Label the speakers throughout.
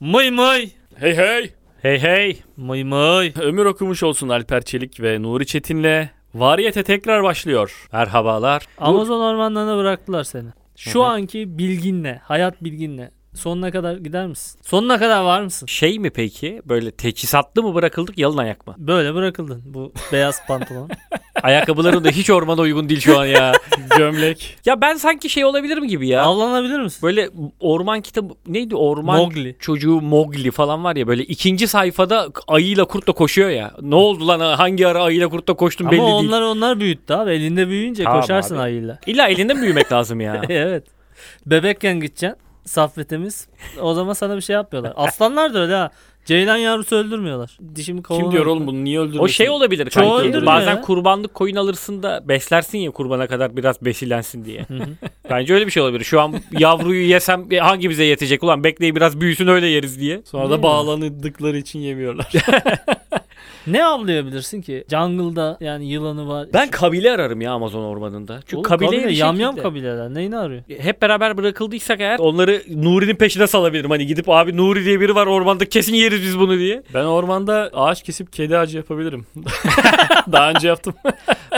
Speaker 1: Mıy mıy.
Speaker 2: Hey hey.
Speaker 1: Hey hey. Mıy mıy.
Speaker 2: Ömür okumuş olsun Alper Çelik ve Nuri Çetin'le Variyete tekrar başlıyor.
Speaker 3: Merhabalar.
Speaker 1: Amazon ormanlarına bıraktılar seni. Şu anki bilginle, hayat bilginle sonuna kadar gider misin? Sonuna kadar var mısın?
Speaker 3: Şey mi peki? Böyle teçhizatlı mı bırakıldık yalın ayak mı?
Speaker 1: Böyle bırakıldın bu beyaz pantolon.
Speaker 3: Ayakkabıların da hiç ormana uygun değil şu an ya.
Speaker 2: Gömlek.
Speaker 3: ya ben sanki şey olabilirim gibi ya.
Speaker 1: Avlanabilir misin?
Speaker 3: Böyle orman kitabı neydi orman
Speaker 1: Mowgli.
Speaker 3: çocuğu Mowgli falan var ya böyle ikinci sayfada ayıyla kurtla koşuyor ya. Ne oldu lan hangi ara ayıyla kurtla koştum belli
Speaker 1: Ama
Speaker 3: değil.
Speaker 1: onlar onlar büyüttü abi. Elinde büyüyünce
Speaker 3: Tamam
Speaker 1: koşarsın
Speaker 3: abi.
Speaker 1: ayıyla.
Speaker 3: İlla elinde mi büyümek lazım ya?
Speaker 1: evet. Bebekken gideceksin. Saf ve temiz. O zaman sana bir şey yapmıyorlar. Aslanlar da öyle ha. Ceylan yavrusu öldürmüyorlar. Dişimi
Speaker 2: Kim
Speaker 1: kovalamadım.
Speaker 2: diyor oğlum bunu niye öldürüyorsun?
Speaker 3: O şey olabilir
Speaker 1: Çoğu
Speaker 3: kanki.
Speaker 1: öldürmüyor
Speaker 3: Bazen
Speaker 1: ya.
Speaker 3: kurbanlık koyun alırsın da beslersin ya kurbana kadar biraz besilensin diye. Bence öyle bir şey olabilir. Şu an yavruyu yesem hangi bize yetecek? Ulan bekleyin biraz büyüsün öyle yeriz diye.
Speaker 2: Sonra da bağlandıkları için yemiyorlar.
Speaker 1: Ne avlayabilirsin ki? Jungle'da yani yılanı var.
Speaker 3: Ben kabile ararım ya Amazon ormanında. Çünkü
Speaker 1: Oğlum
Speaker 3: kabile, bir
Speaker 1: yamyam
Speaker 3: şekilde-
Speaker 1: kabileler. Neyini arıyor?
Speaker 3: Hep beraber bırakıldıysak eğer onları Nuri'nin peşine salabilirim. Hani gidip abi Nuri diye biri var ormanda kesin yeriz biz bunu diye.
Speaker 2: ben ormanda ağaç kesip kedi ağacı yapabilirim. Daha önce yaptım.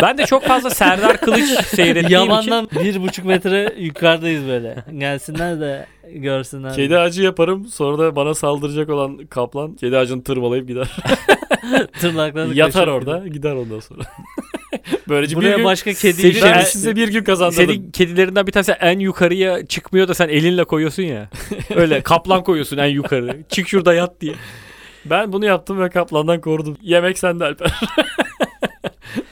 Speaker 3: Ben de çok fazla Serdar Kılıç seyrettiğim için.
Speaker 1: Yamandan bir buçuk metre yukarıdayız böyle. Gelsinler de görsünler.
Speaker 2: Kedi ağacı yaparım. Sonra da bana saldıracak olan kaplan kedi ağacını tırmalayıp gider.
Speaker 1: Tırnaklarını
Speaker 2: Yatar
Speaker 1: kaşır
Speaker 2: orada
Speaker 1: gibi.
Speaker 2: gider ondan sonra. Böylece bir
Speaker 1: Buraya Şey,
Speaker 2: gün
Speaker 1: başka kedi
Speaker 3: Senin-
Speaker 2: ben
Speaker 1: işemiş.
Speaker 2: size bir gün kazandırdım.
Speaker 3: Senin kedilerinden bir tanesi en yukarıya çıkmıyor da sen elinle koyuyorsun ya. Öyle kaplan koyuyorsun en yukarı. Çık şurada yat diye.
Speaker 2: Ben bunu yaptım ve kaplandan korudum. Yemek sende Alper.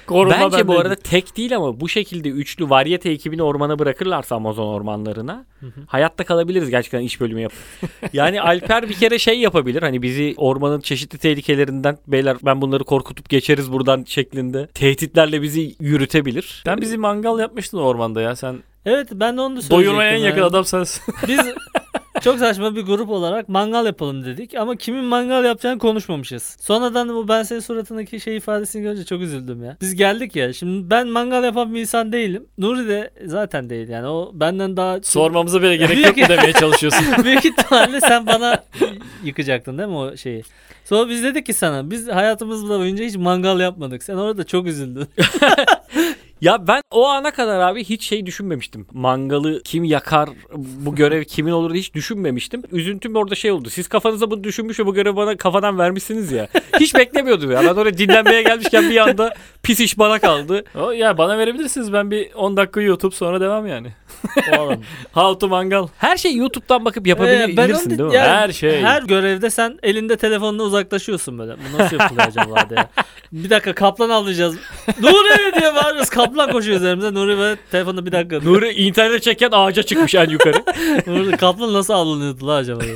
Speaker 2: Korunma
Speaker 3: Bence bu
Speaker 2: bendeydi.
Speaker 3: arada tek değil ama bu şekilde üçlü varyete ekibini ormana bırakırlarsa Amazon ormanlarına hayatta kalabiliriz gerçekten iş bölümü yap. yani Alper bir kere şey yapabilir hani bizi ormanın çeşitli tehlikelerinden beyler ben bunları korkutup geçeriz buradan şeklinde tehditlerle bizi yürütebilir.
Speaker 2: Sen bizi mangal yapmıştın ormanda ya. Sen
Speaker 1: Evet ben de onu da söyleyecektim.
Speaker 2: doyurmaya en yakın
Speaker 1: yani.
Speaker 2: adam sensin.
Speaker 1: Biz çok saçma bir grup olarak mangal yapalım dedik ama kimin mangal yapacağını konuşmamışız. Sonradan bu ben senin suratındaki şey ifadesini görünce çok üzüldüm ya. Biz geldik ya şimdi ben mangal yapan bir insan değilim. Nuri de zaten değil yani o benden daha...
Speaker 2: Sormamıza bile gerek yok mu demeye çalışıyorsun.
Speaker 1: Büyük ihtimalle sen bana yıkacaktın değil mi o şeyi? Sonra biz dedik ki sana biz hayatımız boyunca hiç mangal yapmadık. Sen orada çok üzüldün.
Speaker 3: Ya ben o ana kadar abi hiç şey düşünmemiştim. Mangalı kim yakar, bu görev kimin olur hiç düşünmemiştim. Üzüntüm orada şey oldu. Siz kafanıza bunu düşünmüş ve bu görevi bana kafadan vermişsiniz ya. Hiç beklemiyordum ya. Ben oraya dinlenmeye gelmişken bir anda pis iş bana kaldı.
Speaker 2: O, ya bana verebilirsiniz. Ben bir 10 dakika YouTube sonra devam yani.
Speaker 1: Oğlum.
Speaker 2: How to mangal.
Speaker 3: Her şeyi YouTube'dan bakıp
Speaker 1: Ee, ben onu
Speaker 3: yapabilirsin
Speaker 1: de-
Speaker 3: değil mi?
Speaker 1: yani
Speaker 2: Her şey.
Speaker 1: Her görevde sen elinde telefonla uzaklaşıyorsun böyle. Bu nasıl yapılıyor acaba diye. Bir dakika kaplan avlayacağız. Nuri diye bağırıyoruz. Kaplan koşuyor üzerimize. Nuri böyle telefonda bir dakika. diyor.
Speaker 3: Nuri internet çeken ağaca çıkmış en yukarı.
Speaker 1: Nuri kaplan nasıl avlanıyordu la acaba diye.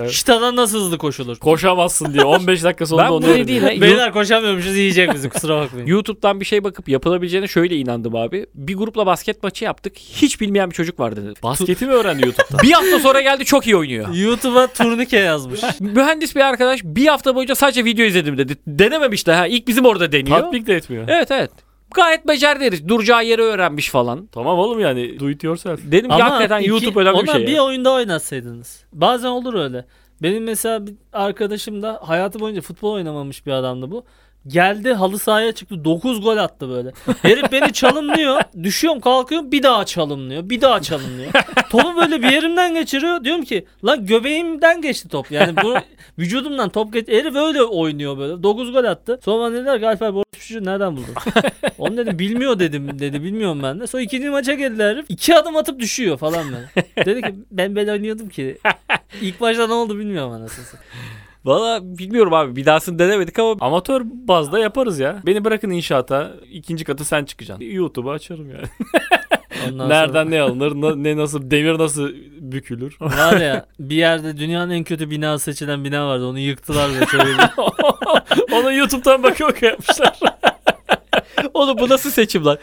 Speaker 2: Evet.
Speaker 1: Şitadan nasıl hızlı koşulur?
Speaker 2: Koşamazsın diye 15 dakika sonra
Speaker 3: Ben
Speaker 2: onu
Speaker 3: burayı
Speaker 2: öğreniyorum.
Speaker 3: değil, ben-
Speaker 1: Beyler koşamıyormuşuz yiyecek bizi kusura bakmayın.
Speaker 3: YouTube'dan bir şey bakıp yapılabileceğine şöyle inandım abi. Bir grupla basket maçı yaptık. Hiç bilmeyen bir çocuk vardı.
Speaker 2: Basketi mi öğrendi YouTube'da?
Speaker 3: bir hafta sonra geldi çok iyi oynuyor.
Speaker 1: YouTube'a turnike yazmış.
Speaker 3: Mühendis bir arkadaş bir hafta boyunca sadece video izledim dedi. Denememiş daha. İlk bizim orada deniyor.
Speaker 2: Tatbik de etmiyor.
Speaker 3: Evet evet. Gayet becerdi herif. Duracağı yeri öğrenmiş falan.
Speaker 2: Tamam oğlum yani do it yourself.
Speaker 3: Dedim ki hakikaten
Speaker 1: iki-
Speaker 3: YouTube önemli bir
Speaker 1: ona
Speaker 3: şey.
Speaker 1: bir
Speaker 3: ya.
Speaker 1: oyunda oynatsaydınız. Bazen olur öyle. Benim mesela bir arkadaşım da hayatı boyunca futbol oynamamış bir adamdı bu. Geldi halı sahaya çıktı 9 gol attı böyle. Herif beni çalımlıyor. Düşüyorum kalkıyorum bir daha çalımlıyor. Bir daha çalımlıyor. Topu böyle bir yerimden geçiriyor. Diyorum ki lan göbeğimden geçti top. Yani bu vücudumdan top geç. Herif öyle oynuyor böyle. 9 gol attı. Sonra bana dediler ki Alper bu çocuğu nereden buldun? Onu dedim bilmiyor dedim dedi bilmiyorum ben de. Sonra ikinci maça geldiler herif. İki adım atıp düşüyor falan ben. dedi ki ben ben oynuyordum ki. İlk başta ne oldu bilmiyorum anasını. satayım.
Speaker 3: Valla bilmiyorum abi. Bir dahasını denemedik ama
Speaker 2: Amatör bazda yaparız ya. Beni bırakın inşaata. ikinci katı sen çıkacaksın. YouTube'u açarım yani.
Speaker 1: Ondan
Speaker 2: Nereden ne alınır, na- ne nasıl, demir nasıl bükülür.
Speaker 1: Sonra, var ya bir yerde dünyanın en kötü bina seçilen bina vardı. Onu yıktılar ve çevirdi.
Speaker 2: Onu YouTube'dan baka baka yapmışlar.
Speaker 3: oğlum bu nasıl seçim lan?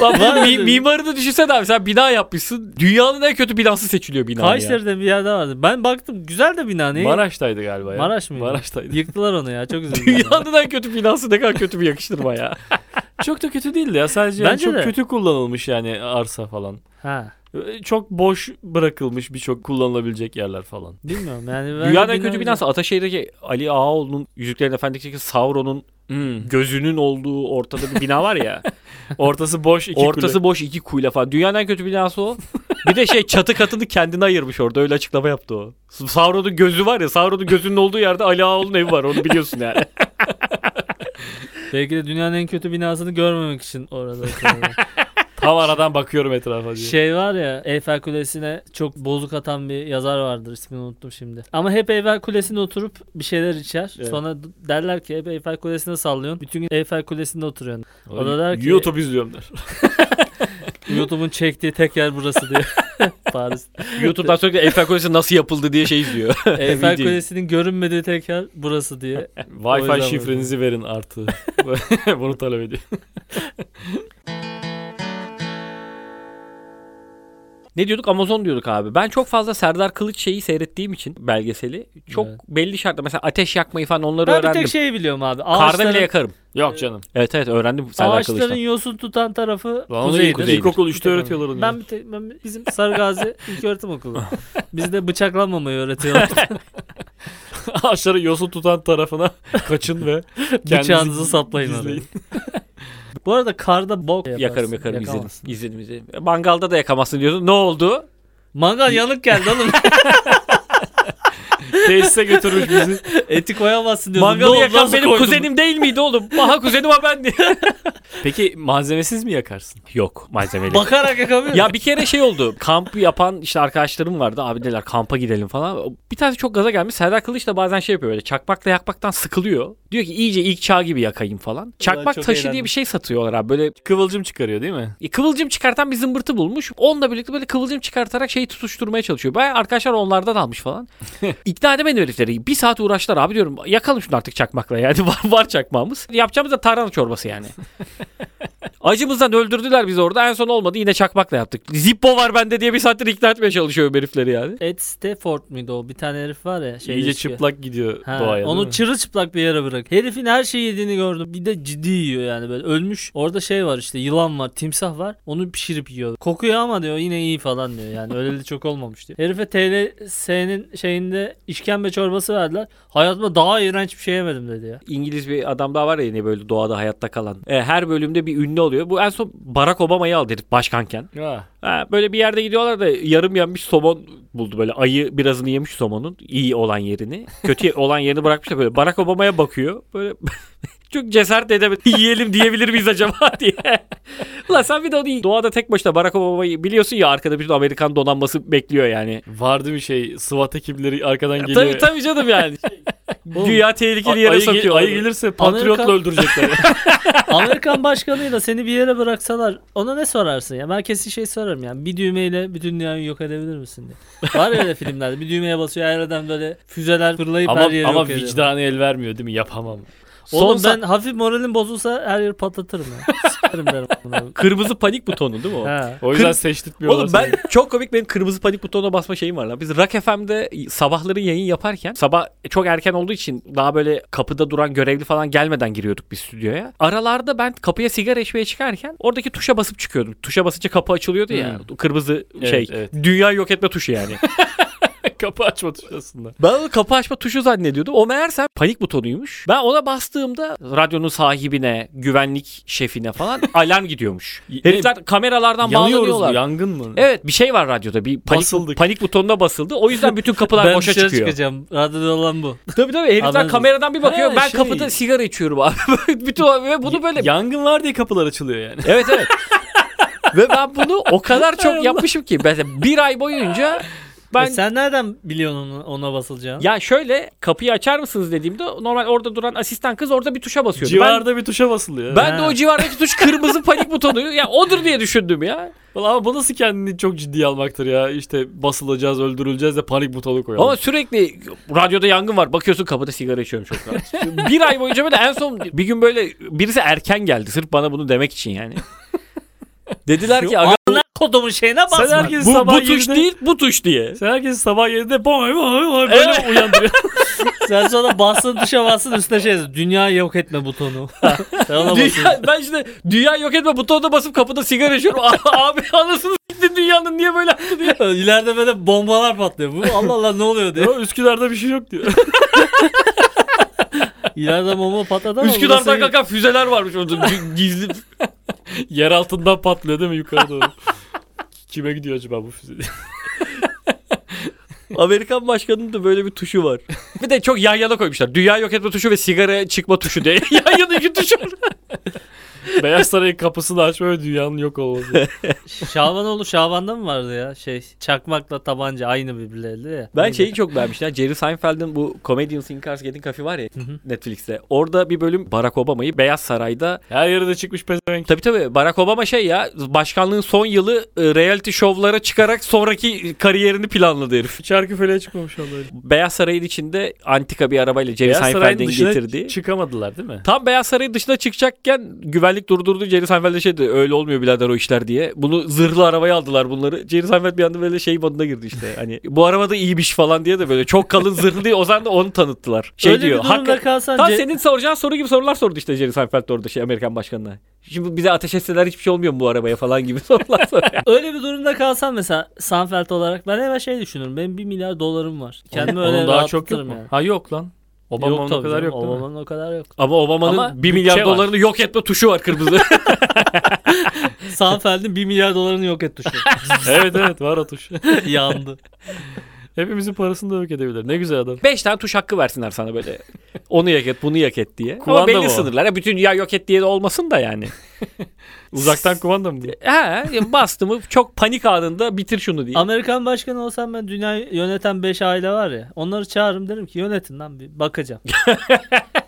Speaker 3: Lan bunun mi- mimarını düşünsene abi. Sen bina yapmışsın. Dünyanın en kötü binası seçiliyor bina ya.
Speaker 1: Kayseri'de bir yerde vardı. Ben baktım güzel de bina ne?
Speaker 2: Maraş'taydı galiba ya.
Speaker 1: Maraş mıydı?
Speaker 2: Maraş'taydı.
Speaker 1: Yıktılar onu ya çok üzüldüm.
Speaker 3: Dünyanın en kötü binası ne kadar kötü bir yakıştırma ya.
Speaker 2: Çok da kötü değildi ya. Sadece
Speaker 1: Bence
Speaker 2: çok
Speaker 1: de.
Speaker 2: kötü kullanılmış yani arsa falan.
Speaker 1: ha.
Speaker 2: Ee, Çok boş bırakılmış birçok kullanılabilecek yerler falan.
Speaker 1: Bilmiyorum yani. ben
Speaker 3: Dünyanın en
Speaker 1: bilmiyorum.
Speaker 3: kötü binası Ataşehir'deki Ali Ağaoğlu'nun Yüzüklerin Efendisi'ndeki Sauron'un Hmm. gözünün olduğu ortada bir bina var ya.
Speaker 2: Ortası boş iki
Speaker 3: ortası
Speaker 2: kule.
Speaker 3: boş iki kuyla falan. Dünyanın en kötü binası o. Bir de şey çatı katını kendine ayırmış orada öyle açıklama yaptı o. Sauron'un gözü var ya Sauron'un gözünün olduğu yerde Ali Ağaoğlu'nun evi var onu biliyorsun yani.
Speaker 1: Belki de dünyanın en kötü binasını görmemek için orada. oturuyorlar.
Speaker 2: Tam aradan bakıyorum etrafa diye.
Speaker 1: şey var ya Eyfel Kulesi'ne çok bozuk atan bir yazar vardır ismini unuttum şimdi. Ama hep Eyfel Kulesi'nde oturup bir şeyler içer.
Speaker 2: Evet.
Speaker 1: Sonra d- derler ki hep Eyfel Kulesi'ne sallıyorsun. Bütün gün Eyfel Kulesi'nde oturuyorsun. o da der ki-
Speaker 2: YouTube izliyorum der.
Speaker 1: YouTube'un çektiği tek yer burası diye. Paris.
Speaker 3: YouTube'dan sürekli Eiffel Kulesi nasıl yapıldı diye şey izliyor.
Speaker 1: Eyfel
Speaker 3: Video.
Speaker 1: Kulesi'nin görünmediği tek yer burası diye.
Speaker 2: Wi-Fi
Speaker 1: böyle.
Speaker 2: şifrenizi verin artı. Bunu talep ediyor.
Speaker 3: Ne diyorduk? Amazon diyorduk abi. Ben çok fazla Serdar Kılıç şeyi seyrettiğim için belgeseli çok
Speaker 1: Evet.
Speaker 3: belli şartla mesela ateş yakmayı falan onları
Speaker 1: Ben bir
Speaker 3: öğrendim.
Speaker 1: tek şeyi biliyorum abi.
Speaker 3: Karda
Speaker 1: Ağaçların,
Speaker 3: bile yakarım.
Speaker 2: Yok canım.
Speaker 3: Evet evet öğrendim Serdar
Speaker 1: ağaçların
Speaker 3: Kılıç'tan.
Speaker 1: yosun tutan tarafı
Speaker 2: Lan onu
Speaker 1: kuzeydir.
Speaker 2: ilk- ilkokul 3'te öğretiyorlar onu.
Speaker 1: Ben, bir tek, ben bir- bizim Sarıgazi İlköğretim Okulu. Bizde bıçaklanmamayı öğretiyorlar.
Speaker 2: Ağaçları yosun tutan tarafına kaçın ve kendinizi
Speaker 1: Bıçağınızı saplayın oraya.
Speaker 2: gizleyin.
Speaker 1: Bu arada karda bok yaparsın.
Speaker 3: Yakarım yakarım izledim.
Speaker 1: yakamazsın.
Speaker 3: izledim. izledim. E, Mangalda da yakamazsın diyordun. Ne oldu?
Speaker 1: Mangal yanık geldi oğlum.
Speaker 2: Tesise götürmüş bizi.
Speaker 1: Eti koyamazsın diyorsun. Ne
Speaker 3: Mangalı
Speaker 1: oldu lan
Speaker 3: yakan
Speaker 1: bu
Speaker 3: benim
Speaker 1: koydun?
Speaker 3: kuzenim değil miydi oğlum? Aha kuzenim ha ben diye.
Speaker 2: Peki malzemesiz mi yakarsın?
Speaker 3: Yok malzemeli.
Speaker 1: Bakarak yakamıyor.
Speaker 3: Ya bir kere şey oldu. Kamp yapan işte arkadaşlarım vardı. Abi dediler kampa gidelim falan. Bir tanesi çok gaza gelmiş. Serdar Kılıç da bazen şey yapıyor böyle. Çakmakla yakmaktan sıkılıyor. Diyor ki iyice ilk çağ gibi yakayım falan. Çakmak
Speaker 1: çok
Speaker 3: taşı
Speaker 1: eğlendim.
Speaker 3: diye bir şey satıyorlar abi. Böyle
Speaker 2: Kıvılcım çıkarıyor değil mi?
Speaker 3: e, kıvılcım çıkartan bir zımbırtı bulmuş. Onunla birlikte böyle kıvılcım çıkartarak şeyi tutuşturmaya çalışıyor. Bayağı arkadaşlar onlardan almış falan. İkna edemedim herifleri. Bir saat uğraştılar abi diyorum. Yakalım şunu artık çakmakla yani. Var, var çakmağımız. Yapacağımız da tarhana çorbası yani. Acımızdan öldürdüler bizi orada. En son olmadı yine çakmakla yaptık. Zippo var bende diye bir saattir ikna etmeye çalışıyorum herifleri yani.
Speaker 1: Ed Stafford muydu o? Bir tane herif var ya. Şey
Speaker 2: İyice çıplak gidiyor doğaya.
Speaker 1: onu
Speaker 2: değil mi?
Speaker 1: çırılçıplak bir yere bırak. Herifin her şeyi yediğini gördüm. Bir de ciddi yiyor yani böyle ölmüş. Orada şey var işte yılan var, timsah var. Onu pişirip yiyor. Kokuyor ama diyor yine iyi falan diyor. Yani öyle de çok olmamış diyor. Herife TLS'nin şeyinde işkembe çorbası verdiler. Hayatımda daha iğrenç bir şey yemedim dedi ya.
Speaker 3: İngiliz bir adam daha var ya yine böyle doğada hayatta kalan. E, her bölümde bir ünlü oluyor. Bu en son Barack Obama'yı aldı herif başkanken.
Speaker 2: Ha.
Speaker 3: Ha, böyle bir yerde gidiyorlar da yarım yenmiş somon buldu böyle ayı birazını yemiş somonun iyi olan yerini kötü olan yerini bırakmış da böyle Barack Obama'ya bakıyor böyle çok cesaret edemedi yiyelim diyebilir miyiz acaba diye. Ulan sen bir de onu doğada tek başına Barack Obama'yı biliyorsun ya arkada bir Amerikan donanması bekliyor yani.
Speaker 2: Vardı bir şey SWAT ekipleri arkadan geliyor.
Speaker 3: Tabii tabii canım yani. Güya tehlikeli
Speaker 2: Ayı,
Speaker 3: yere
Speaker 2: gel-
Speaker 3: sokuyor.
Speaker 2: ayı gelirse patriotla
Speaker 1: Amerika-
Speaker 2: öldürecekler.
Speaker 1: Amerikan başkanıyla seni bir yere bıraksalar ona ne sorarsın ya? Ben kesin şey sorarım yani. Bir düğmeyle bütün dünyayı yok edebilir misin diye. Var ya öyle filmlerde bir düğmeye basıyor her yerden böyle füzeler fırlayıp
Speaker 2: ama
Speaker 1: her yeri
Speaker 2: ama
Speaker 1: yok ediyor.
Speaker 2: vicdanı el vermiyor değil mi? Yapamam.
Speaker 1: Oğlum
Speaker 3: Son
Speaker 1: ben hafif moralim bozulsa her yeri patlatırım ya. Sıkarım derim buna.
Speaker 3: Kırmızı panik butonu değil mi o?
Speaker 1: Ha.
Speaker 2: O yüzden
Speaker 3: Kırk-
Speaker 2: seçtirtmiyorlar.
Speaker 3: Oğlum ben çok komik benim kırmızı panik butonuna basma şeyim var lan. Biz Rock FM'de sabahları yayın yaparken sabah çok erken olduğu için daha böyle kapıda duran görevli falan gelmeden giriyorduk biz stüdyoya. Aralarda ben kapıya sigara içmeye çıkarken oradaki tuşa basıp çıkıyordum. Tuşa basınca kapı açılıyordu ya. Kırmızı
Speaker 2: Hmm. Evet,
Speaker 3: şey.
Speaker 2: evet.
Speaker 3: Dünya yok etme tuşu yani.
Speaker 2: seni. kapı açma tuşlasında.
Speaker 3: Ben onu kapı açma tuşu zannediyordum. O meğerse panik butonuymuş. Ben ona bastığımda radyonun sahibine, güvenlik şefine falan alarm gidiyormuş. Herifler kameralardan
Speaker 2: Yanıyoruz mu?
Speaker 3: bağlanıyorlar.
Speaker 2: Yangın mı?
Speaker 3: Evet bir şey var radyoda bir panik,
Speaker 2: Basıldık.
Speaker 3: panik butonuna basıldı. O yüzden bütün kapılar
Speaker 1: Ben
Speaker 3: boşa
Speaker 1: dışarı
Speaker 3: çıkıyor.
Speaker 1: çıkacağım. Radyoda olan bu.
Speaker 3: Tabii tabii herifler
Speaker 1: Haberiniz-
Speaker 3: kameradan bir bakıyor.
Speaker 2: Ha,
Speaker 3: ben
Speaker 2: şey.
Speaker 3: kapıda sigara içiyorum abi. bütün o- ve bunu böyle
Speaker 2: Yangın var diye kapılar açılıyor yani.
Speaker 3: Evet evet. ve ben bunu o kadar çok yapmışım ki mesela bir ay boyunca ben
Speaker 1: E sen nereden biliyorsun onu- ona basılacağını?
Speaker 3: ya şöyle kapıyı açar mısınız dediğimde normal orada duran asistan kız orada bir tuşa basıyordu.
Speaker 2: Civarda bir tuşa basılıyor.
Speaker 3: Ben, ben de
Speaker 1: Ha.
Speaker 3: o civardaki tuş kırmızı panik butonu. Ya odur diye düşündüm ya.
Speaker 2: Ulan ama bu nasıl kendini çok ciddiye almaktır ya. İşte basılacağız, öldürüleceğiz de panik butonu koyalım.
Speaker 3: Ama sürekli radyoda yangın var. Bakıyorsun kapıda sigara içiyorum çok rahat. bir ay boyunca böyle en son bir gün böyle birisi erken geldi. Sırf bana bunu demek için yani. Dediler ki aga
Speaker 1: Ana kodumun şeyine basma.
Speaker 2: Sen herkes
Speaker 3: bu,
Speaker 2: sabah
Speaker 3: bu tuş
Speaker 2: yedide-
Speaker 3: değil bu tuş diye.
Speaker 2: Sen herkes sabah yedide boy boy boy böyle uyandırıyor.
Speaker 1: Sen sonra bastın tuşa bastın üstüne şey yazıyor. Dünya yok etme butonu. Sen ona basıyorsun.
Speaker 3: Dünya, ben işte dünya yok etme butonuna basıp kapıda sigara içiyorum. Abi anasını siktin dünyanın niye böyle yaptı diye.
Speaker 1: İleride böyle bombalar patlıyor. Bu Allah Allah ne oluyor diye.
Speaker 2: Ya Üsküdar'da bir şey yok diyor.
Speaker 1: İleride bomba patladı ama
Speaker 3: Üsküdar'dan
Speaker 1: burası-
Speaker 3: kalkan füzeler varmış orada G- gizli.
Speaker 2: Yer altından patlıyor değil mi yukarı doğru? Kime gidiyor acaba bu füze?
Speaker 3: Amerikan başkanının da böyle bir tuşu var. Bir de çok yan yana koymuşlar. Dünya yok etme tuşu ve sigara çıkma tuşu diye. yan yana iki tuş var.
Speaker 2: Beyaz Saray'ın kapısını açma ve dünyanın yok olması.
Speaker 1: Şabanoğlu Şaban'da mı vardı ya? Şey çakmakla tabanca aynı birbirleriyle ya.
Speaker 3: Ben şey, şeyi çok beğenmiştim. ya. Jerry Seinfeld'in bu Comedians in Cars Getting Coffee var ya
Speaker 1: hı.
Speaker 3: Netflix'te. Orada bir bölüm Barack Obama'yı Beyaz Saray'da
Speaker 2: Her yere de çıkmış pezevenk.
Speaker 3: Tabii tabii Barack Obama şey ya başkanlığın son yılı e, reality şovlara çıkarak sonraki kariyerini planladı herif.
Speaker 2: Çarkı feleğe çıkmamış onları.
Speaker 3: Beyaz Saray'ın içinde antika bir arabayla Jerry
Speaker 2: Beyaz Saray'ın
Speaker 3: Seinfeld'in
Speaker 2: dışına
Speaker 3: getirdiği.
Speaker 2: çıkamadılar değil mi?
Speaker 3: Tam Beyaz Saray'ın dışına çıkacakken güvenlik durdurdu. Jerry Seinfeld'e şey dedi öyle olmuyor birader o işler diye. Bunu zırhlı arabaya aldılar bunları. Jerry Seinfeld bir anda böyle şey moduna girdi işte. Hani bu arabada iyiymiş falan diye de böyle çok kalın zırhlı diye o zaman da onu tanıttılar. Şey
Speaker 1: Öyle
Speaker 3: diyor.
Speaker 1: bir durumda
Speaker 3: Hakikaten
Speaker 1: kalsan
Speaker 3: Tam
Speaker 1: ce-
Speaker 3: senin soracağın soru gibi sorular sordu işte Jerry Seinfeld de orada şey Amerikan başkanına. Şimdi bize ateş etseler hiçbir şey olmuyor mu bu arabaya falan gibi sorular soruyor.
Speaker 1: Öyle bir durumda kalsan mesela Sanfeld olarak ben hemen şey düşünürüm. Benim 1 milyar dolarım var. Kendimi öyle
Speaker 2: Onun daha çok yok
Speaker 1: rahatlatırım
Speaker 2: mu?
Speaker 1: yani.
Speaker 2: Ha yok lan. Obama'nın
Speaker 1: yok
Speaker 2: o
Speaker 1: tabii
Speaker 2: kadar
Speaker 1: canım,
Speaker 2: yok değil mi?
Speaker 1: Obama'nın o kadar yok.
Speaker 3: Ama Obama'nın
Speaker 2: Ama
Speaker 3: 1 milyar
Speaker 2: bütçe var.
Speaker 3: dolarını yok etme tuşu var kırmızı.
Speaker 1: Sanfeld'in 1 milyar dolarını yok et tuşu.
Speaker 2: evet evet var o tuş.
Speaker 1: Yandı.
Speaker 2: Hepimizin parasını da yok edebilir. Ne güzel adam.
Speaker 3: 5 tane tuş hakkı versinler sana böyle. Onu yak et, bunu yak et diye.
Speaker 2: Kumanda
Speaker 3: Ama belli
Speaker 2: mı o?
Speaker 3: sınırlar. Ya Bütün dünya yok et diye de olmasın da yani.
Speaker 2: Uzaktan kumanda mı bu?
Speaker 3: He, bastı mı çok panik anında bitir şunu diye.
Speaker 1: Amerikan başkanı olsam ben dünyayı yöneten 5 aile var ya. Onları çağırırım derim ki yönetin lan bir bakacağım.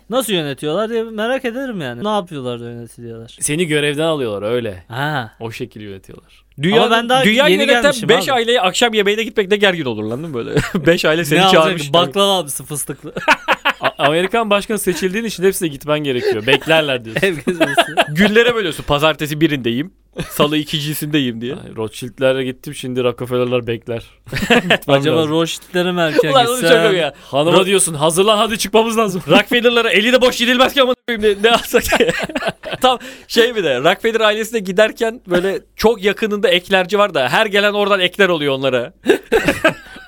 Speaker 1: Nasıl yönetiyorlar diye merak ederim yani. Ne yapıyorlar da yönetiliyorlar.
Speaker 2: Seni görevden alıyorlar öyle.
Speaker 1: Ha.
Speaker 2: O şekil yönetiyorlar.
Speaker 3: Dünya,
Speaker 1: ben daha
Speaker 3: dünya
Speaker 1: yeni
Speaker 3: yöneten
Speaker 1: gelmişim
Speaker 3: 5
Speaker 1: abi.
Speaker 3: aileye akşam yemeğine gitmek ne gergin olur lan değil mi böyle? 5 aile
Speaker 1: ne
Speaker 3: seni
Speaker 1: alacak?
Speaker 3: çağırmış.
Speaker 1: Baklava abisi fıstıklı.
Speaker 2: A- Amerikan başkanı seçildiğin için hepsine gitmen gerekiyor. Beklerler diyorsun.
Speaker 1: Ev gezmesi.
Speaker 3: Günlere bölüyorsun. Pazartesi birindeyim. Salı ikincisindeyim diye.
Speaker 2: Ay, Rothschild'lere gittim şimdi Rockefeller'lar bekler. Gitmem
Speaker 1: Acaba
Speaker 2: lazım.
Speaker 1: Roşitlere mi erken
Speaker 3: Ulan onu
Speaker 1: gitsem?
Speaker 3: söylüyorum ya.
Speaker 2: Hanıma diyorsun hazırlan hadi çıkmamız lazım.
Speaker 3: Rockefeller'lara eli de boş gidilmez ki amına koyayım ne, ne alsak. Tam şey bir de Rockefeller ailesine giderken böyle çok yakınında eklerci var da her gelen oradan ekler oluyor onlara.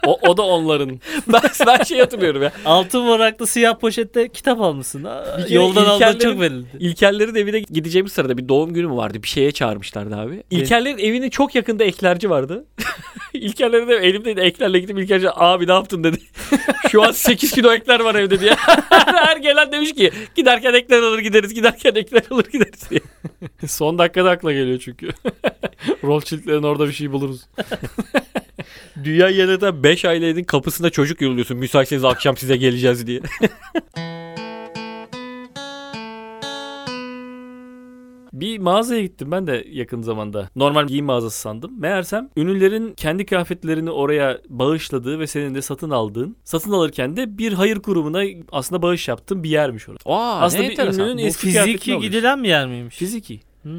Speaker 2: O, o da onların.
Speaker 3: Ben, ben şey hatırlıyorum ya.
Speaker 1: Altın varaklı siyah poşette kitap almışsın. Aa,
Speaker 3: kere
Speaker 1: Yoldan aldığın
Speaker 3: İlkerlerin-
Speaker 1: çok belirli.
Speaker 3: İlkerlerin evine gideceğimiz sırada bir doğum günü mü vardı? Bir şeye çağırmışlardı abi. İlkerlerin evinin çok yakında eklerci vardı. İlkerlerin de elimdeydi eklerle gittim İlkerci abi ne yaptın dedi. Şu an 8 kilo ekler var evde diye. her gelen demiş ki giderken ekler alır gideriz giderken ekler alır gideriz diye.
Speaker 2: Son dakikada akla geliyor çünkü. Rothschild'lerin orada bir şey buluruz.
Speaker 3: Dünya yöneten 5 ailenin kapısına çocuk yolluyorsun. Müsaitseniz akşam size geleceğiz diye.
Speaker 2: Bir mağazaya gittim ben de yakın zamanda. Normal giyim mağazası sandım. Meğersem ünlülerin kendi kıyafetlerini oraya bağışladığı ve senin de satın aldığın, satın alırken de bir hayır kurumuna aslında bağış yaptığın bir yermiş orası.
Speaker 3: Aa
Speaker 2: Aslında bir ünlünün
Speaker 1: Bu
Speaker 2: eski kıyafetini
Speaker 1: fiziki
Speaker 2: alıyorsun.
Speaker 1: gidilen bir yer miymiş?
Speaker 2: Fiziki.
Speaker 1: Hmm.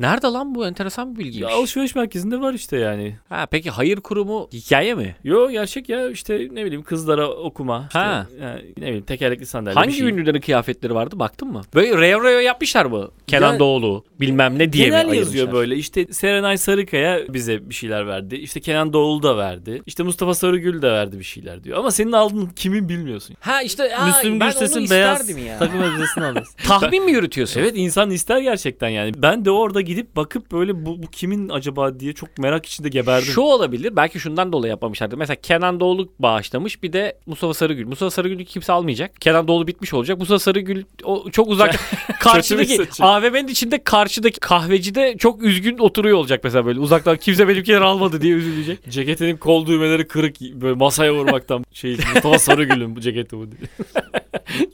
Speaker 3: Nerede lan bu enteresan bir
Speaker 2: Ya
Speaker 3: bilgiymiş.
Speaker 2: alışveriş merkezinde var işte yani.
Speaker 3: ha, peki hayır kurumu hikaye mi?
Speaker 2: Yo gerçek ya işte ne bileyim kızlara okuma. işte
Speaker 3: Ha.
Speaker 2: yani ne bileyim tekerlekli sandalye. bir
Speaker 3: Hangi
Speaker 2: şey.
Speaker 3: ünlülerin kıyafetleri vardı baktın mı? Böyle reo reo yapmışlar mı? Kenan
Speaker 2: Ya-
Speaker 3: Doğulu bilmem ne diye mi
Speaker 2: Genel
Speaker 3: ayırmışlar?
Speaker 2: yazıyor böyle. İşte Serenay Sarıkaya bize bir şeyler verdi. İşte Kenan Doğulu da verdi. İşte Mustafa Sarıgül de verdi bir şeyler diyor. Ama senin aldığın kimin bilmiyorsun.
Speaker 3: Ha işte aa,
Speaker 1: Müslüm
Speaker 3: ben
Speaker 1: Gürses'in
Speaker 3: onu
Speaker 1: beyaz
Speaker 3: isterdim ya.
Speaker 1: takım elbisesini alıyorsun.
Speaker 3: Tahmin mi yürütüyorsun?
Speaker 2: Evet insan ister gerçekten yani. Ben de orada gidip bakıp böyle bu, bu kimin acaba diye çok merak içinde geberdim.
Speaker 3: Şu olabilir. Belki şundan dolayı yapmamışlardır. Mesela Kenan Doğulu bağışlamış. Bir de Mustafa Sarıgül. Mustafa Sarıgül'ü kimse almayacak. Kenan Doğulu bitmiş olacak. Mustafa Sarıgül o çok uzak. karşıdaki
Speaker 2: Kötü bir seçim.
Speaker 3: AVM'nin içinde karşıdaki kahvecide çok üzgün oturuyor olacak mesela böyle. Uzaktan kimse benimkileri almadı diye üzülecek.
Speaker 2: Ceketinin kol düğmeleri kırık böyle masaya vurmaktan şey Mustafa Sarıgül'ün bu ceketi bu diye.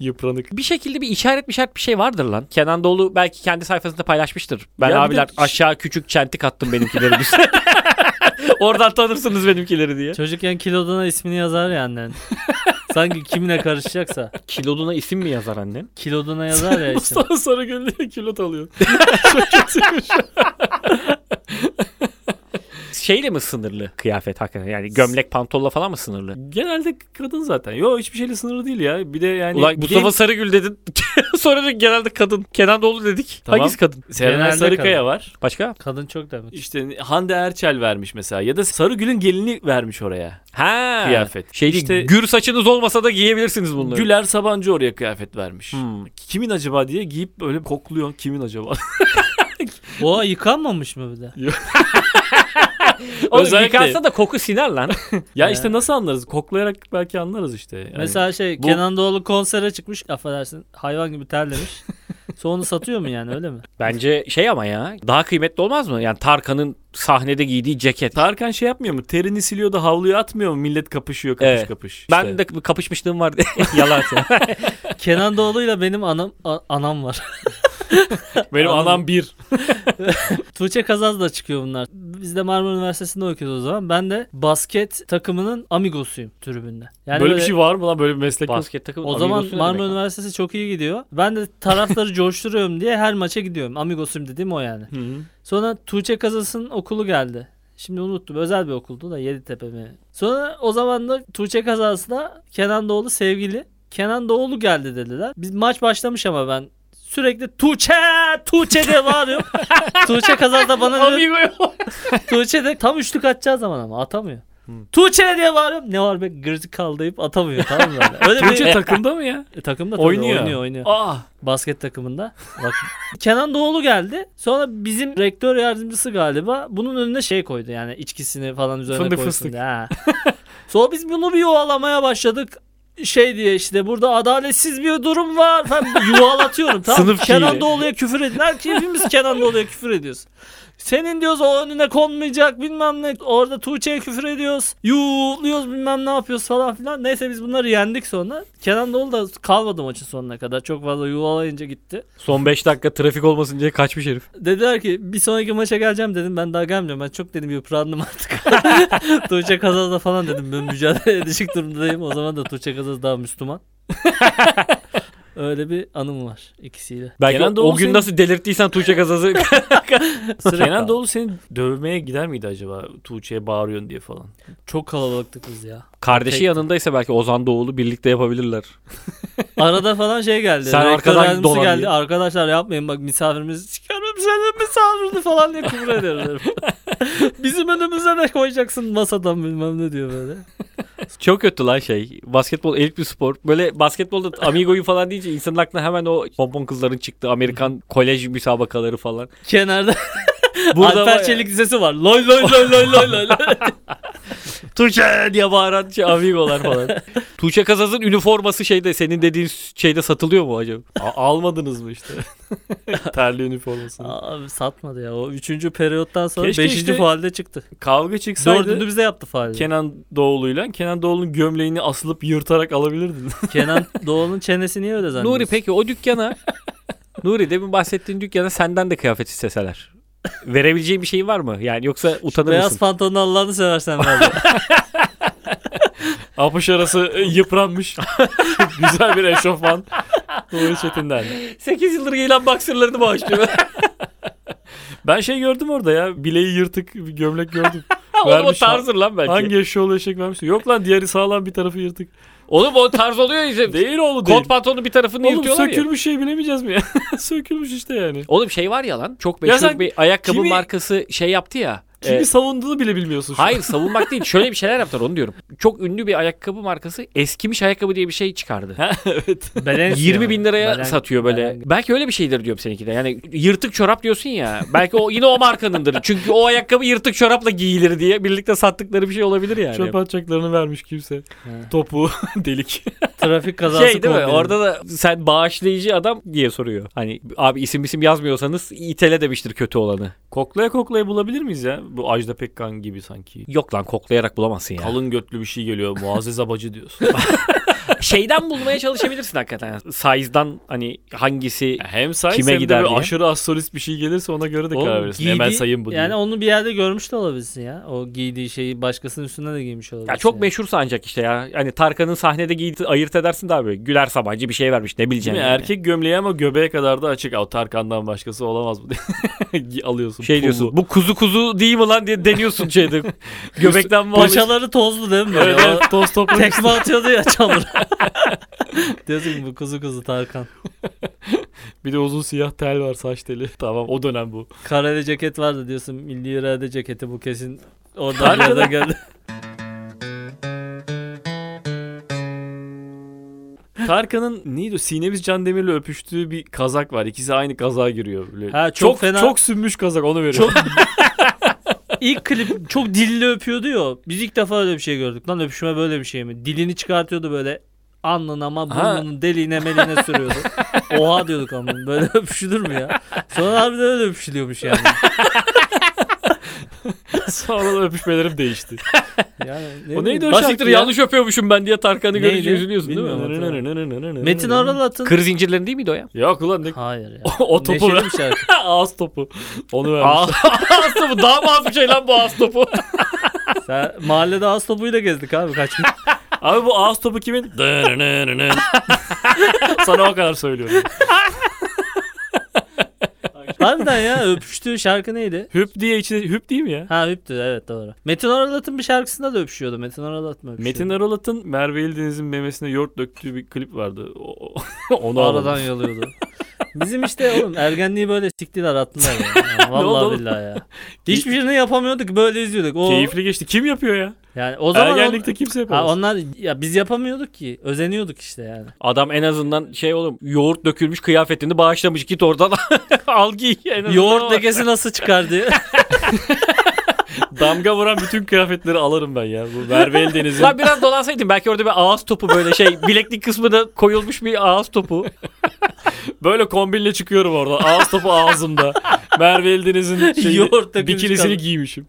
Speaker 2: Yıpranık.
Speaker 3: bir şekilde bir işaret bir işaret bir şey vardır lan. Kenan Doğulu belki kendi sayfasında paylaşmıştır. Ben
Speaker 2: Ya bir de-
Speaker 3: abiler aşağı küçük çentik attım benimkileri. biz. Oradan tanırsınız benimkileri diye.
Speaker 1: Çocukken kiloduna ismini yazar ya annen. Sanki kimine karışacaksa.
Speaker 3: Kiloduna isim mi yazar annem?
Speaker 1: Kiloduna yazar ya işte.
Speaker 2: Mustafa Sarıgül diye külot alıyor. Çok kötüymüş.
Speaker 3: şeyle mi sınırlı kıyafet hakikaten? Yani gömlek pantolla falan mı sınırlı?
Speaker 2: Genelde kadın zaten. Yo hiçbir şeyle sınırlı değil ya. Bir de yani
Speaker 3: Ulan
Speaker 2: gay-
Speaker 3: Mustafa Sarıgül dedin. Sonra da genelde kadın. Kenan Doğulu dedik.
Speaker 2: Tamam.
Speaker 3: Hangisi kadın?
Speaker 2: Serenay
Speaker 1: Genelde
Speaker 2: Sarıkaya
Speaker 1: kadın.
Speaker 2: var.
Speaker 3: Başka?
Speaker 1: Kadın çok demek.
Speaker 2: İşte Hande Erçel vermiş mesela ya da Sarıgül'ün gelini vermiş oraya
Speaker 3: Ha.
Speaker 2: kıyafet.
Speaker 3: Şey değil,
Speaker 2: İşte
Speaker 3: gür saçınız olmasa da giyebilirsiniz bunları.
Speaker 2: Güler Sabancı oraya kıyafet vermiş.
Speaker 3: Hmm.
Speaker 2: Kimin acaba diye giyip böyle kokluyor. Kimin acaba?
Speaker 1: Oha yıkanmamış mı bir de?
Speaker 3: Oğlum
Speaker 2: Özellikle-
Speaker 3: yıkansa da koku siner lan.
Speaker 2: ya
Speaker 1: Ee.
Speaker 2: işte nasıl anlarız? Koklayarak belki anlarız işte. Yani
Speaker 1: Mesela şey
Speaker 2: bu-
Speaker 1: Kenan Doğulu konsere çıkmış affedersin hayvan gibi terlemiş. Sonra onu satıyor mu yani öyle mi?
Speaker 3: Bence şey ama ya daha kıymetli olmaz mı? Yani Tarkan'ın sahnede giydiği ceket.
Speaker 2: Tarkan şey yapmıyor mu? Terini siliyor da havluya atmıyor mu? Millet kapışıyor kapış
Speaker 3: Evet.
Speaker 2: kapış. işte.
Speaker 3: Ben de kapışmışlığım var. Yalan söylüyorum.
Speaker 1: Kenan Doğulu'yla benim anam a- anam var.
Speaker 2: benim anam bir.
Speaker 1: Tuğçe Kazaz da çıkıyor bunlar. Biz de Marmara Üniversitesi'nde okuyoruz o zaman. Ben de basket takımının amigosuyum tribünde. Yani
Speaker 2: böyle, bir şey var mı lan böyle bir meslek? yok.
Speaker 3: Basket takımı.
Speaker 1: O zaman
Speaker 3: Amigos'u ne
Speaker 1: Marmara
Speaker 3: demek lan?
Speaker 1: Üniversitesi çok iyi gidiyor. Ben de taraftarı coşturuyorum diye her maça gidiyorum. Amigosum dediğim o yani.
Speaker 2: Hı hı.
Speaker 1: Sonra Tuğçe Kazas'ın okulu geldi. Şimdi unuttum. Özel bir okuldu da Yeditepe mi? Sonra o zaman da Tuğçe Kazas'la Kenan Doğulu sevgili. Kenan Doğulu geldi dediler. Biz maç başlamış ama ben sürekli Tuğçe Tuğçe diye bağırıyorum. Tuğçe Kazas da bana diyor,
Speaker 3: Amigo yok.
Speaker 1: Tuğçe de tam üçlük atacağı zaman ama atamıyor. Tuğçe diye bağırıyorum. Ne var be gırcık kaldayıp atamıyor tamam mı? böyle? Öyle
Speaker 2: Tuğçe
Speaker 1: bir
Speaker 2: takımda mı ya? Ah.
Speaker 1: E, takımda tabii
Speaker 2: Oynuyor.
Speaker 1: oynuyor. oynuyor oynuyor.
Speaker 2: Aa.
Speaker 1: Basket takımında. Bak. Kenan Doğulu geldi. Sonra bizim rektör yardımcısı galiba bunun önüne şey koydu yani içkisini falan üzerine
Speaker 2: Fındık
Speaker 1: koysun
Speaker 2: fıstık.
Speaker 1: diye. Ha. Sonra biz bunu bir yuvalamaya başladık. Şey diye işte burada adaletsiz bir durum var. Ben yuvalatıyorum tamam mı?
Speaker 3: Sınıf
Speaker 1: Kenan
Speaker 3: şiiri.
Speaker 1: Doğulu'ya küfür edin. Herkes hepimiz Kenan Doğulu'ya küfür ediyoruz. Senin diyoruz o önüne konmayacak bilmem ne. Orada Tuğçe'ye küfür ediyoruz. Yuğluyoruz bilmem ne yapıyoruz falan filan. Neyse biz bunları yendik sonra. Kenan Doğulu da kalmadı maçın sonuna kadar. Çok fazla yuvalayınca gitti.
Speaker 3: Son 5 dakika trafik olmasın diye kaçmış herif.
Speaker 1: Dediler ki bir sonraki maça geleceğim dedim. Ben daha gelmiyorum. Ben çok dedim yıprandım artık. Tuğçe Kazaz'la falan dedim. Ben mücadele edecek durumdayım. O zaman da Tuğçe Kazaz daha Müslüman. Öyle bir anım var ikisiyle.
Speaker 3: Belki
Speaker 2: Kenan
Speaker 3: o-
Speaker 2: Doğulu
Speaker 3: o gün
Speaker 2: senin-
Speaker 3: nasıl delirttiysen Tuğçe Gazaz'ı.
Speaker 1: Sürekli
Speaker 2: Kenan Doğulu seni dövmeye gider miydi acaba? Tuğçe'ye bağırıyorsun diye falan.
Speaker 1: Çok kalabalıktık biz ya.
Speaker 3: Kardeşi
Speaker 1: Tek-
Speaker 3: yanındaysa belki Ozan Doğulu birlikte yapabilirler.
Speaker 1: Arada falan şey geldi.
Speaker 3: Sen
Speaker 1: rektör
Speaker 3: arkadan
Speaker 1: yardımcısı
Speaker 3: dolan
Speaker 1: geldi.
Speaker 3: diye.
Speaker 1: Arkadaşlar yapmayın bak misafirimiz çıkarım senin misafirini falan diye küfür ediyorlar. Bizim önümüze ne koyacaksın masadan bilmem ne diyor böyle.
Speaker 3: Çok kötü lan şey. Basketbol elit bir spor. Böyle basketbolda amigoyu falan deyince insanın aklına hemen o pompon kızların çıktığı Amerikan kolej müsabakaları falan.
Speaker 1: Kenarda
Speaker 3: Burada
Speaker 1: Alper
Speaker 3: baya-
Speaker 1: Çelik Lisesi var. Loy loy loy loy loy loy.
Speaker 3: Tuğçe diye bağıran şey, amigolar falan. Tuğçe Kazaz'ın üniforması şeyde senin dediğin şeyde satılıyor mu acaba?
Speaker 2: A- almadınız mı işte? Terli üniformasını.
Speaker 1: Abi satmadı ya. O 3. periyottan sonra
Speaker 2: Keşke
Speaker 1: 5.
Speaker 2: işte-
Speaker 1: faalde çıktı.
Speaker 2: Kavga çıksaydı
Speaker 1: 4'ünü bize yaptı faalde.
Speaker 2: Kenan Doğulu'yla Kenan Doğulu'nun gömleğini asılıp yırtarak alabilirdin.
Speaker 1: Kenan Doğulu'nun çenesi niye öyle zannediyorsun?
Speaker 3: Nuri peki o dükkana Nuri demin bahsettiğin dükkana senden de kıyafet isteseler. Verebileceğin bir şey var mı? Yani yoksa utanır
Speaker 1: Beyaz
Speaker 3: mısın?
Speaker 1: pantolonu Allah'ını seversen verdi.
Speaker 2: Apış arası e, yıpranmış. Güzel bir eşofman. Nuri Çetin'den.
Speaker 3: 8 yıldır giyilen boxerlarını bağışlıyor.
Speaker 2: Ben şey gördüm orada ya. Bileği yırtık bir gömlek gördüm.
Speaker 3: Oğlum o
Speaker 2: Vermiş
Speaker 3: tarzdır lan belki.
Speaker 2: Hangi eşoğlu eşek vermişti? Yok lan diğeri sağlam bir tarafı yırtık.
Speaker 3: Oğlum o tarz oluyor işte.
Speaker 2: Değil oğlu değil.
Speaker 3: Kot pantolonun bir tarafını
Speaker 2: Oğlum
Speaker 3: yırtıyorlar ya.
Speaker 2: sökülmüş şey bilemeyeceğiz mi ya? sökülmüş işte yani.
Speaker 3: Oğlum şey var ya lan çok
Speaker 2: Ya
Speaker 3: meşhur
Speaker 2: sen
Speaker 3: bir ayakkabı
Speaker 2: kimi-
Speaker 3: markası şey yaptı ya.
Speaker 2: Kimi
Speaker 3: Ee,
Speaker 2: savunduğunu bile bilmiyorsun şu an.
Speaker 3: hayır savunmak değil şöyle bir şeyler yaptılar onu diyorum. Çok ünlü bir ayakkabı markası eskimiş ayakkabı diye bir şey çıkardı.
Speaker 2: evet.
Speaker 3: 20 bin liraya
Speaker 1: Balen-
Speaker 3: satıyor böyle.
Speaker 1: Balen-
Speaker 3: Belki öyle bir şeydir diyorum seninki de. Yani yırtık çorap diyorsun ya. Belki o yine o markanındır. Çünkü o ayakkabı yırtık çorapla giyilir diye birlikte sattıkları bir şey olabilir yani.
Speaker 2: Çöp atacaklarını vermiş kimse.
Speaker 1: He.
Speaker 2: Topu delik.
Speaker 1: Trafik kazası
Speaker 3: Şey değil mi?
Speaker 1: kombini.
Speaker 3: Orada da sen bağışlayıcı adam diye soruyor. Hani abi isim isim yazmıyorsanız itele demiştir kötü olanı.
Speaker 2: Koklaya koklaya bulabilir miyiz ya? Bu Ajda Pekkan gibi sanki.
Speaker 3: Yok lan koklayarak bulamazsın ya.
Speaker 2: Kalın götlü bir şey geliyor. Muazzez Abacı diyorsun.
Speaker 3: şeyden bulmaya çalışabilirsin hakikaten. Size'dan hani hangisi
Speaker 2: Hem say
Speaker 3: Kime
Speaker 2: hem
Speaker 3: gider
Speaker 2: de böyle
Speaker 3: diye.
Speaker 2: aşırı astrolist bir şey gelirse ona göre de
Speaker 1: Oğlum,
Speaker 2: karar verirsin.
Speaker 1: giydiği-
Speaker 2: Hemen sayayım bu diye.
Speaker 1: Yani onu bir yerde görmüş de olabilirsin ya. O giydiği şeyi başkasının üstüne de giymiş olabilirsin.
Speaker 3: ya çok
Speaker 1: yani.
Speaker 3: meşhursa ancak işte ya. Hani Tarkan'ın sahnede giydi ayırt edersin daha böyle. Güler Sabancı bir şey vermiş ne
Speaker 2: Değil
Speaker 3: bileceksin.
Speaker 2: mi?
Speaker 3: yani.
Speaker 2: Erkek gömleği ama göbeğe kadar da açık. Aa, Tarkan'dan başkası olamaz bu diye. Gi- Alıyorsun.
Speaker 3: şey
Speaker 2: pullu.
Speaker 3: diyorsun bu kuzu kuzu değil mi lan diye deniyorsun şeyde. Göbekten bağlı.
Speaker 1: Paçaları tozlu değil mi?
Speaker 2: Evet,
Speaker 1: Böyle? O
Speaker 2: evet, toz toprak.
Speaker 1: Tekme atıyordu ya çamur. Diyorsun ki bu kuzu kuzu Tarkan.
Speaker 2: Bir de uzun siyah tel var saç teli. Tamam o dönem bu.
Speaker 1: Kareli ceket vardı diyorsun. Milli irade ceketi bu kesin. Oradan yerden geldi.
Speaker 2: Tarkan'ın neydi o? Sineviz Can Demir'le öpüştüğü bir kazak var. İkisi aynı kazağa giriyor. Böyle.
Speaker 1: Ha, çok fena-
Speaker 2: Çok sünmüş kazak onu veriyor.
Speaker 1: Çok- İlk klip çok dilli öpüyordu ya. o. Biz ilk defa öyle bir şey gördük. Lan öpüşme böyle bir şey mi? Dilini çıkartıyordu böyle. Alnın ama
Speaker 2: Ha.
Speaker 1: burnunun deliğine meline sürüyordu. Oha diyorduk ama böyle öpüşülür mü ya? Sonra harbiden öyle öpüşülüyormuş yani.
Speaker 2: Sonra da öpüşmelerim değişti.
Speaker 1: yani
Speaker 2: O neydi
Speaker 1: bileyim.
Speaker 2: o
Speaker 1: Basit-
Speaker 2: şarkı?
Speaker 3: Basiktir yanlış öpüyormuşum ben diye Tarkan'ı
Speaker 1: Neydi?
Speaker 3: görünce üzülüyorsun değil mi?
Speaker 1: Bilmiyorum. Metin
Speaker 2: Metin
Speaker 1: Aralat'ın.
Speaker 3: Kır zincirlerin değil miydi o ya?
Speaker 2: Yok ulan ne
Speaker 1: Hayır ya.
Speaker 2: o topu
Speaker 1: Neşeli
Speaker 2: ver.
Speaker 1: bir şarkı.
Speaker 2: Ağız topu. Onu vermiş.
Speaker 3: Ağız topu daha mı az bir şey lan bu ağız topu?
Speaker 1: Sen mahallede ağız topuyla gezdik abi kaç gün.
Speaker 2: Abi bu ağız topu kimin? Sana o kadar söylüyorum.
Speaker 1: Harbiden ya öpüştüğü şarkı neydi?
Speaker 2: Hüp diye içine hüp değil mi ya?
Speaker 1: Ha hüptü evet doğru. Metin Aralat'ın bir şarkısında da öpüşüyordu. Metin Aralat mı öpüşüyordu?
Speaker 2: Metin Aralat'ın Merve İldeniz'in memesine yoğurt döktüğü bir klip vardı. O, o- onu
Speaker 1: Aradan
Speaker 2: aradan.
Speaker 1: yalıyordu. Bizim işte oğlum ergenliği böyle siktiler attılar. ya. Yani
Speaker 2: Ne oldu
Speaker 1: vallahi
Speaker 2: oğlum?
Speaker 1: billahi ya. Hiçbir şeyini yapamıyorduk böyle izliyorduk. O,
Speaker 2: Keyifli geçti. Kim yapıyor ya?
Speaker 1: Yani o zaman on-
Speaker 2: Ergenlikte kimse
Speaker 1: ha,
Speaker 2: yapamaz.
Speaker 1: onlar ya biz yapamıyorduk ki. Özeniyorduk işte yani.
Speaker 3: Adam en azından şey oğlum yoğurt dökülmüş kıyafetini bağışlamış git oradan al giy en azından.
Speaker 1: Yoğurt
Speaker 3: o-
Speaker 1: lekesi nasıl çıkar diye.
Speaker 2: Damga vuran bütün kıyafetleri alırım ben ya. Bu Merve İldeniz'in.
Speaker 3: Lan biraz dolansaydın belki orada bir ağız topu böyle şey bileklik kısmına koyulmuş bir ağız topu.
Speaker 2: Böyle kombinle çıkıyorum orada. Ağız topu ağzımda. Merve İldeniz'in şeyi,
Speaker 1: Yoğurt dökülmüş
Speaker 2: bikinisini
Speaker 1: kadın.
Speaker 2: giymişim.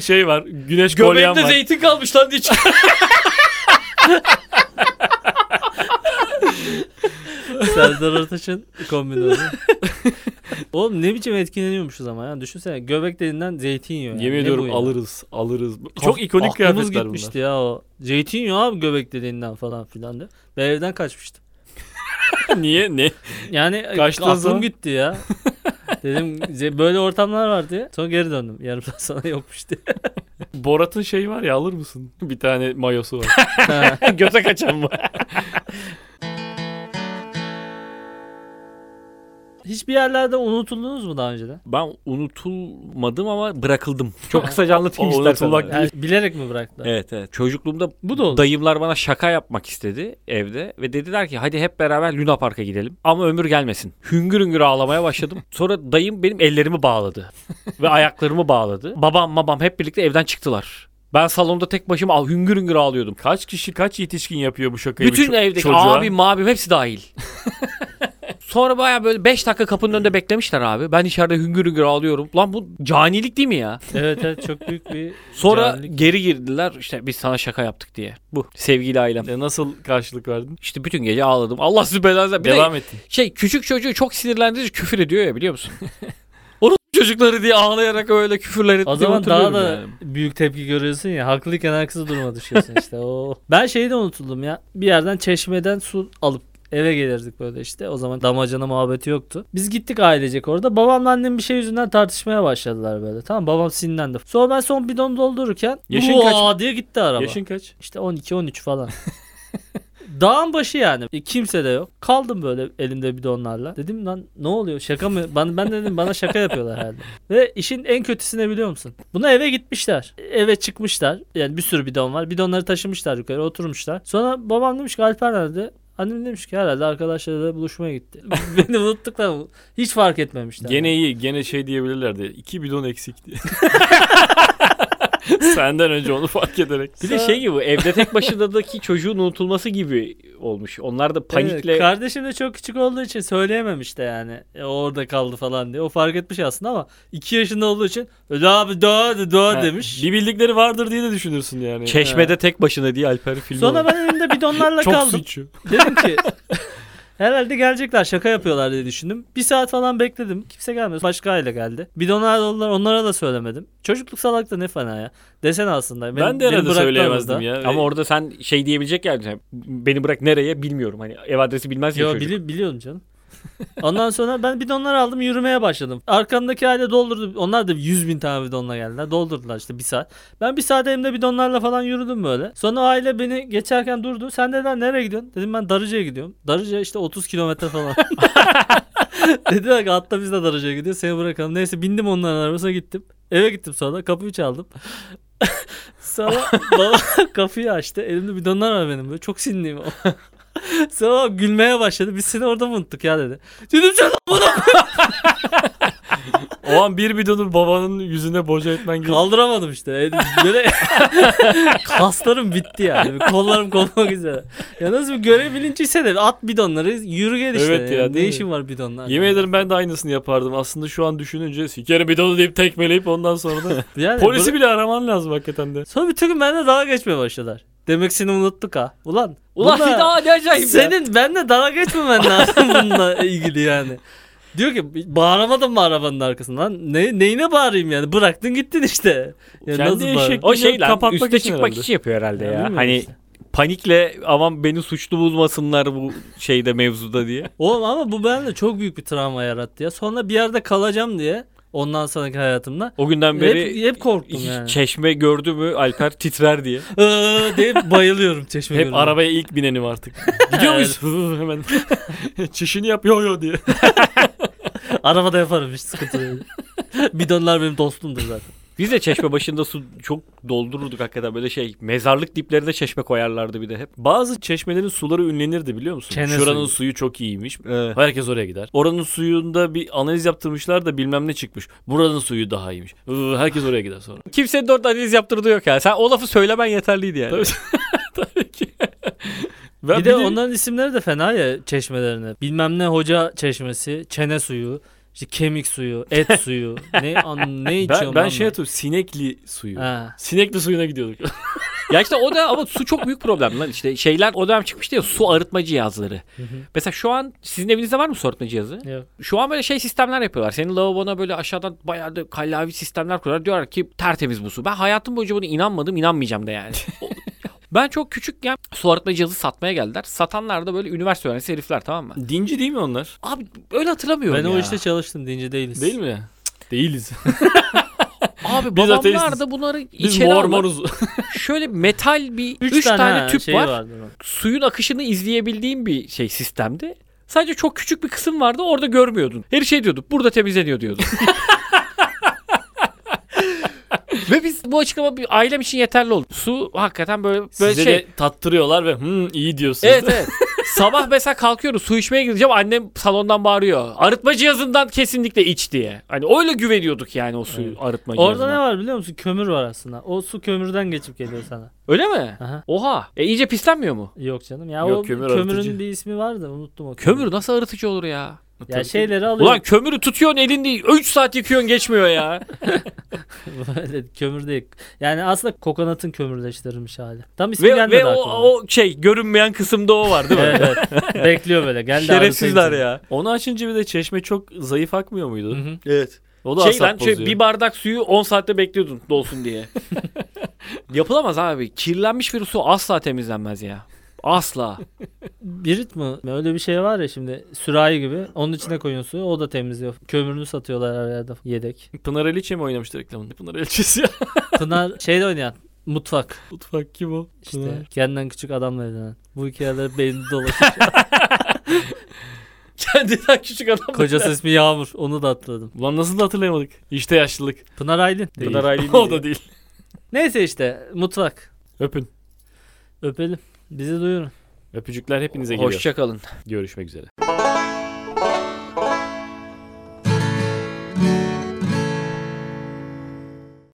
Speaker 2: şey var. Güneş kolyem
Speaker 3: Göbeğimde
Speaker 2: var.
Speaker 3: zeytin kalmış lan diye çıkıyor.
Speaker 1: Serdar Ortaç'ın kombinasyonu. Oğlum ne biçim etkileniyormuşuz ama ya. Düşünsene göbek delinden zeytin yiyor. yani.
Speaker 2: Yemin
Speaker 1: Ne
Speaker 2: ediyorum
Speaker 1: bu ya?
Speaker 2: alırız, alırız.
Speaker 1: Kaf-
Speaker 2: Çok ikonik
Speaker 1: aklımız
Speaker 2: kıyafetler bunlar.
Speaker 1: gitmişti ya o. Zeytin yiyor abi göbek deliğinden falan filan de. Ben evden kaçmıştım.
Speaker 2: Niye? Ne?
Speaker 1: Yani e,
Speaker 2: Kaçtın
Speaker 1: aklım
Speaker 2: zaman?
Speaker 1: gitti ya. Dedim ze- böyle ortamlar vardı ya. Sonra geri döndüm. Yarım saat sonra yokmuş diye.
Speaker 2: Borat'ın şeyi var ya alır mısın? Bir tane mayosu var.
Speaker 1: Ha.
Speaker 3: Göze kaçan mı?
Speaker 1: Hiçbir yerlerde unutuldunuz mu daha önceden?
Speaker 3: Ben unutulmadım ama bırakıldım. Çok kısaca anlatayım
Speaker 2: O
Speaker 3: istersen.
Speaker 2: unutulmak
Speaker 1: Yani bilerek mi bıraktılar?
Speaker 3: Evet evet. Çocukluğumda
Speaker 1: Bu da olur.
Speaker 3: dayımlar bana şaka yapmak istedi evde ve dediler ki hadi hep beraber Luna Park'a gidelim ama ömür gelmesin. Hüngür hüngür ağlamaya başladım. Sonra dayım benim ellerimi bağladı ve ayaklarımı bağladı. Babam babam hep birlikte evden çıktılar. Ben salonda tek başıma ağ- hüngür hüngür ağlıyordum.
Speaker 2: kaç kişi, kaç yetişkin yapıyor bu şakayı? bu
Speaker 3: Bütün
Speaker 2: ço-
Speaker 3: evdeki
Speaker 2: çocuğa?
Speaker 3: abim mabim hepsi dahil. Sonra baya böyle 5 dakika kapının önünde beklemişler abi. Ben içeride hüngür hüngür ağlıyorum. Lan bu canilik değil mi ya?
Speaker 1: evet evet çok büyük bir
Speaker 3: Sonra
Speaker 1: cahillik.
Speaker 3: geri girdiler işte biz sana şaka yaptık diye. Bu sevgili ailem.
Speaker 2: E, nasıl karşılık verdin?
Speaker 3: İşte bütün gece ağladım. Allah sizi belanızı versin. Bir de
Speaker 2: Devam ettin.
Speaker 3: şey küçük çocuğu çok sinirlendirici küfür ediyor ya biliyor musun? Onun çocukları diye ağlayarak öyle küfürler ettiğimi
Speaker 1: o zaman daha
Speaker 3: hatırlıyorum
Speaker 1: da
Speaker 3: yani.
Speaker 1: büyük tepki görüyorsun ya. Haklıyken haksız duruma düşüyorsun işte. Oo. Ben şeyi de unutuldum ya. Bir yerden çeşmeden su alıp eve gelirdik böyle işte. O zaman damacana muhabbeti yoktu. Biz gittik ailecek orada. Babamla annem bir şey yüzünden tartışmaya başladılar böyle. Tamam babam sinirlendi. Sonra ben son bidon doldururken
Speaker 2: Yaşın
Speaker 1: Yaşın diye gitti araba.
Speaker 2: Yaşın kaç?
Speaker 1: İşte 12-13 falan. Dağın başı yani. E, kimse de yok. Kaldım böyle elimde bidonlarla. Dedim lan ne oluyor şaka mı? Ben, ben de dedim bana şaka yapıyorlar herhalde. Ve işin en kötüsü ne biliyor musun? Buna eve gitmişler. Eve çıkmışlar. Yani bir sürü bidon var. Bidonları taşımışlar yukarı oturmuşlar. Sonra babam demiş ki Alper nerede? Annem demiş ki herhalde arkadaşlarıyla buluşmaya gitti. Beni unuttuklar mı? Hiç fark etmemişler.
Speaker 2: Gene iyi. Gene şey diyebilirlerdi. İki bidon eksik diye. Senden önce onu fark ederek.
Speaker 3: Bir de şey gibi evde tek başınadaki çocuğun unutulması gibi olmuş. Onlar da panikle
Speaker 1: Evet, kardeşim de çok küçük olduğu için söyleyememiş de yani. E, o orada kaldı falan diye. O fark etmiş aslında ama 2 yaşında olduğu için öyle abi doğa doğa
Speaker 2: Ha,
Speaker 1: demiş.
Speaker 2: Bir bildikleri vardır diye de düşünürsün yani.
Speaker 3: çeşmede tek başına diye Alper filmi.
Speaker 1: Sonra
Speaker 3: olmuş.
Speaker 1: ben elimde bidonlarla
Speaker 2: Çok
Speaker 1: kaldım.
Speaker 2: suçu.
Speaker 1: Dedim ki herhalde gelecekler şaka yapıyorlar diye düşündüm. Bir saat falan bekledim. Kimse gelmiyor. Başka aile geldi. Bidonlar doldular onlara da söylemedim. Çocukluk salakta ne fena ya. Desen aslında.
Speaker 2: Ben,
Speaker 1: Benim-
Speaker 2: de
Speaker 1: beni
Speaker 2: herhalde
Speaker 1: bıraktılar
Speaker 2: söyleyemezdim
Speaker 1: orada.
Speaker 2: ya.
Speaker 3: Ama orada sen şey diyebilecek yani beni bırak nereye bilmiyorum. Hani ev adresi bilmez ya
Speaker 1: Yo,
Speaker 3: çocuk.
Speaker 1: bili- biliyorum canım. Ondan sonra ben bidonları aldım yürümeye başladım. Arkamdaki aile doldurdu. Onlar da 100 bin tane bidonla geldiler. Doldurdular işte bir saat. Ben bir saat elimde bidonlarla falan yürüdüm böyle. Sonra aile beni geçerken durdu. Sen dediler nereye gidiyorsun? Dedim ben Darıca'ya gidiyorum. Darıca işte 30 kilometre falan. dediler ki atla biz de Darıca'ya gidiyoruz. Seni bırakalım. Neyse bindim onların arabasına gittim. Eve gittim sonra kapıyı çaldım. sonra baba kapıyı açtı. Elimde bidonlar var benim böyle. Çok sinirliyim. Sonra gülmeye başladı. Biz seni orada mı unuttuk ya dedi. Dedim sen
Speaker 2: O an bir bidonu babanın yüzüne boca etmen gibi.
Speaker 1: kaldıramadım işte. E, Böyle kaslarım bitti yani. Bir Kollarım kopmak üzere. Ya nasıl bir görev bilinci ise de at bidonları yürü gel işte.
Speaker 2: Evet ya,
Speaker 1: Yani ne
Speaker 2: değil mi?
Speaker 1: işin var bidonlar?
Speaker 2: Yemin ederim ben de aynısını yapardım. Aslında şu an düşününce sikerim bidonu deyip tekmeleyip ondan sonra da
Speaker 1: Yani
Speaker 2: polisi
Speaker 1: böyle-
Speaker 2: bile araman lazım hakikaten de.
Speaker 1: Sonra bütün gün benimle dalga geçmeye başladılar. Demek seni unuttuk ha. Ulan.
Speaker 3: Ulan
Speaker 1: bunlar-
Speaker 3: bir daha ne acayip ya.
Speaker 1: Senin benimle dalga geçmemen lazım bununla ilgili yani. Diyor ki bağıramadın mı arabanın arkasından? Ne, neyine bağırayım yani? Bıraktın gittin işte. Ya
Speaker 2: Kendi
Speaker 1: bağırayım?
Speaker 2: eşek
Speaker 3: O şey lan
Speaker 2: Kapatmak
Speaker 3: üste
Speaker 2: için
Speaker 3: çıkmak
Speaker 2: herhalde.
Speaker 3: için yapıyor herhalde
Speaker 1: Ya
Speaker 3: ya.
Speaker 1: bilmiyorum
Speaker 3: Hani
Speaker 1: işte.
Speaker 3: panikle aman beni suçlu bulmasınlar bu şeyde mevzuda diye.
Speaker 1: Oğlum ama bu bende çok büyük bir travma yarattı ya. Sonra bir yerde kalacağım diye ondan sonraki hayatımda
Speaker 3: O günden beri
Speaker 1: hep, hep korktum
Speaker 3: hiç
Speaker 1: yani.
Speaker 3: çeşme gördü mü Alper titrer diye.
Speaker 1: Iıı deyip bayılıyorum çeşme
Speaker 2: Hep
Speaker 1: gölüne.
Speaker 2: arabaya ilk binenim artık. Gidiyor muyuz? Hı, Hemen çişini yap yo yo diye.
Speaker 1: Arabada yaparım hiç sıkıntı değil. Bidonlar benim dostumdur zaten.
Speaker 3: Biz de çeşme başında su çok doldururduk hakikaten böyle şey mezarlık diplerine çeşme koyarlardı bir de hep.
Speaker 2: Bazı çeşmelerin suları ünlenirdi biliyor musun?
Speaker 1: Çene
Speaker 2: Şuranın
Speaker 1: suyu.
Speaker 2: suyu. çok iyiymiş. Herkes oraya gider. Oranın suyunda bir analiz yaptırmışlar da bilmem ne çıkmış. Buranın suyu daha iyiymiş. Hı, Herkes oraya gider sonra.
Speaker 3: Kimsenin dört analiz yaptırdığı yok ya. Sen o lafı söylemen yeterliydi yani.
Speaker 2: Tabii. Ben
Speaker 1: bir de onların isimleri de fena ya çeşmelerine. Bilmem ne hoca çeşmesi, çene suyu, işte kemik suyu, et suyu. Ne an, ne
Speaker 2: ben,
Speaker 1: içiyorum
Speaker 2: ben
Speaker 1: lan
Speaker 2: şey hatırlıyorum sinekli suyu.
Speaker 1: Ha.
Speaker 2: Sinekli suyuna gidiyorduk.
Speaker 3: ya işte o da ama su çok büyük problem lan. İşte şeyler o dönem çıkmıştı ya su arıtma cihazları.
Speaker 1: hı.
Speaker 3: Mesela şu an sizin evinizde var mı su arıtma cihazı?
Speaker 1: Yok.
Speaker 3: Şu an böyle şey sistemler yapıyorlar. Senin lavabona böyle aşağıdan bayağı da kallavi sistemler kuruyorlar. Diyorlar ki tertemiz bu su. Ben hayatım boyunca buna inanmadım inanmayacağım da yani. O- ben çok küçükken su arıtma cihazı satmaya geldiler. Satanlar da böyle üniversite öğrencisi herifler tamam mı?
Speaker 2: Dinci değil mi onlar?
Speaker 3: Abi öyle hatırlamıyorum
Speaker 1: Ben
Speaker 3: ya.
Speaker 1: o işte çalıştım dinci değiliz.
Speaker 2: Değil mi? Değiliz.
Speaker 3: Abi
Speaker 2: Biz
Speaker 3: babamlar
Speaker 2: ateistiz.
Speaker 3: da bunları
Speaker 2: Biz
Speaker 3: içeri aldı.
Speaker 2: mormoruz.
Speaker 3: Şöyle metal bir
Speaker 1: 3
Speaker 3: üç tane,
Speaker 1: ha,
Speaker 3: tüp
Speaker 1: şey
Speaker 3: var.
Speaker 1: vardı onun.
Speaker 3: Suyun akışını izleyebildiğim bir şey sistemdi. Sadece çok küçük bir kısım vardı orada görmüyordun. Her şey diyordu burada temizleniyor diyordu. Ve biz bu açıklama bir ailem için yeterli oldu. Su hakikaten böyle böyle
Speaker 2: Size
Speaker 3: şey.
Speaker 2: de tattırıyorlar ve hı iyi diyorsunuz.
Speaker 3: Evet evet. Sabah mesela kalkıyoruz su içmeye gideceğim annem salondan bağırıyor. Arıtma cihazından kesinlikle iç diye. Hani öyle güveniyorduk yani o suyu arıtma
Speaker 1: Orada
Speaker 3: cihazına.
Speaker 1: ne var biliyor musun? Kömür var aslında. O su kömürden geçip geliyor sana.
Speaker 3: Öyle mi?
Speaker 1: Aha.
Speaker 3: Oha. E iyice pislenmiyor mu?
Speaker 1: Yok canım. Ya
Speaker 2: Yok,
Speaker 1: o
Speaker 2: kömür
Speaker 1: kömürün
Speaker 2: arıtıcı.
Speaker 1: bir ismi var da unuttum o.
Speaker 3: Kömür nasıl arıtıcı olur ya?
Speaker 1: Ya şeyleri alıyor.
Speaker 3: Ulan kömürü tutuyorsun elinde 3 saat yıkıyorsun geçmiyor ya.
Speaker 1: Böyle kömür değil. Yani aslında kokonatın kömürleştirilmiş hali. Tam ismi
Speaker 3: ve
Speaker 1: gelmedi
Speaker 3: ve o,
Speaker 1: aklıma.
Speaker 3: o şey görünmeyen kısımda o var değil mi?
Speaker 1: Evet, evet. Bekliyor böyle. Gel de
Speaker 3: Şerefsizler
Speaker 1: arıtayım
Speaker 3: ya.
Speaker 2: Onu açınca bir de çeşme çok zayıf akmıyor muydu?
Speaker 1: seni. Hı hı.
Speaker 3: Evet.
Speaker 2: O da
Speaker 3: Şey
Speaker 2: asap
Speaker 3: lan şey,
Speaker 2: bozuyor.
Speaker 3: bir bardak suyu 10 saatte bekliyordun dolsun diye. Yapılamaz abi. Kirlenmiş bir su asla temizlenmez ya. Asla.
Speaker 1: Birit mi? Öyle bir şey var ya şimdi sürahi gibi. Onun içine koyuyorsun suyu. O da temizliyor. Kömürünü satıyorlar her yerde. Yedek.
Speaker 2: Pınar Eliçe mi oynamıştı reklamında? Pınar Eliçe'si ya.
Speaker 1: Pınar şeyde oynayan. Mutfak.
Speaker 2: Mutfak kim o?
Speaker 1: İşte
Speaker 2: Pınar.
Speaker 1: kendinden küçük adamla evlenen. Bu hikayeler beynimde dolaşıyor.
Speaker 3: Kendinden küçük adam.
Speaker 1: Kocası ismi Yağmur. Onu da atladım.
Speaker 2: Ulan nasıl da hatırlayamadık. İşte yaşlılık.
Speaker 1: Pınar Aylin.
Speaker 2: Değil.
Speaker 3: Pınar Aylin
Speaker 2: o
Speaker 3: değil.
Speaker 2: da değil.
Speaker 1: Neyse işte mutfak.
Speaker 2: Öpün.
Speaker 1: Öpelim. Bizi duyurun.
Speaker 2: Öpücükler hepinize geliyor.
Speaker 3: Hoşçakalın.
Speaker 2: Görüşmek üzere.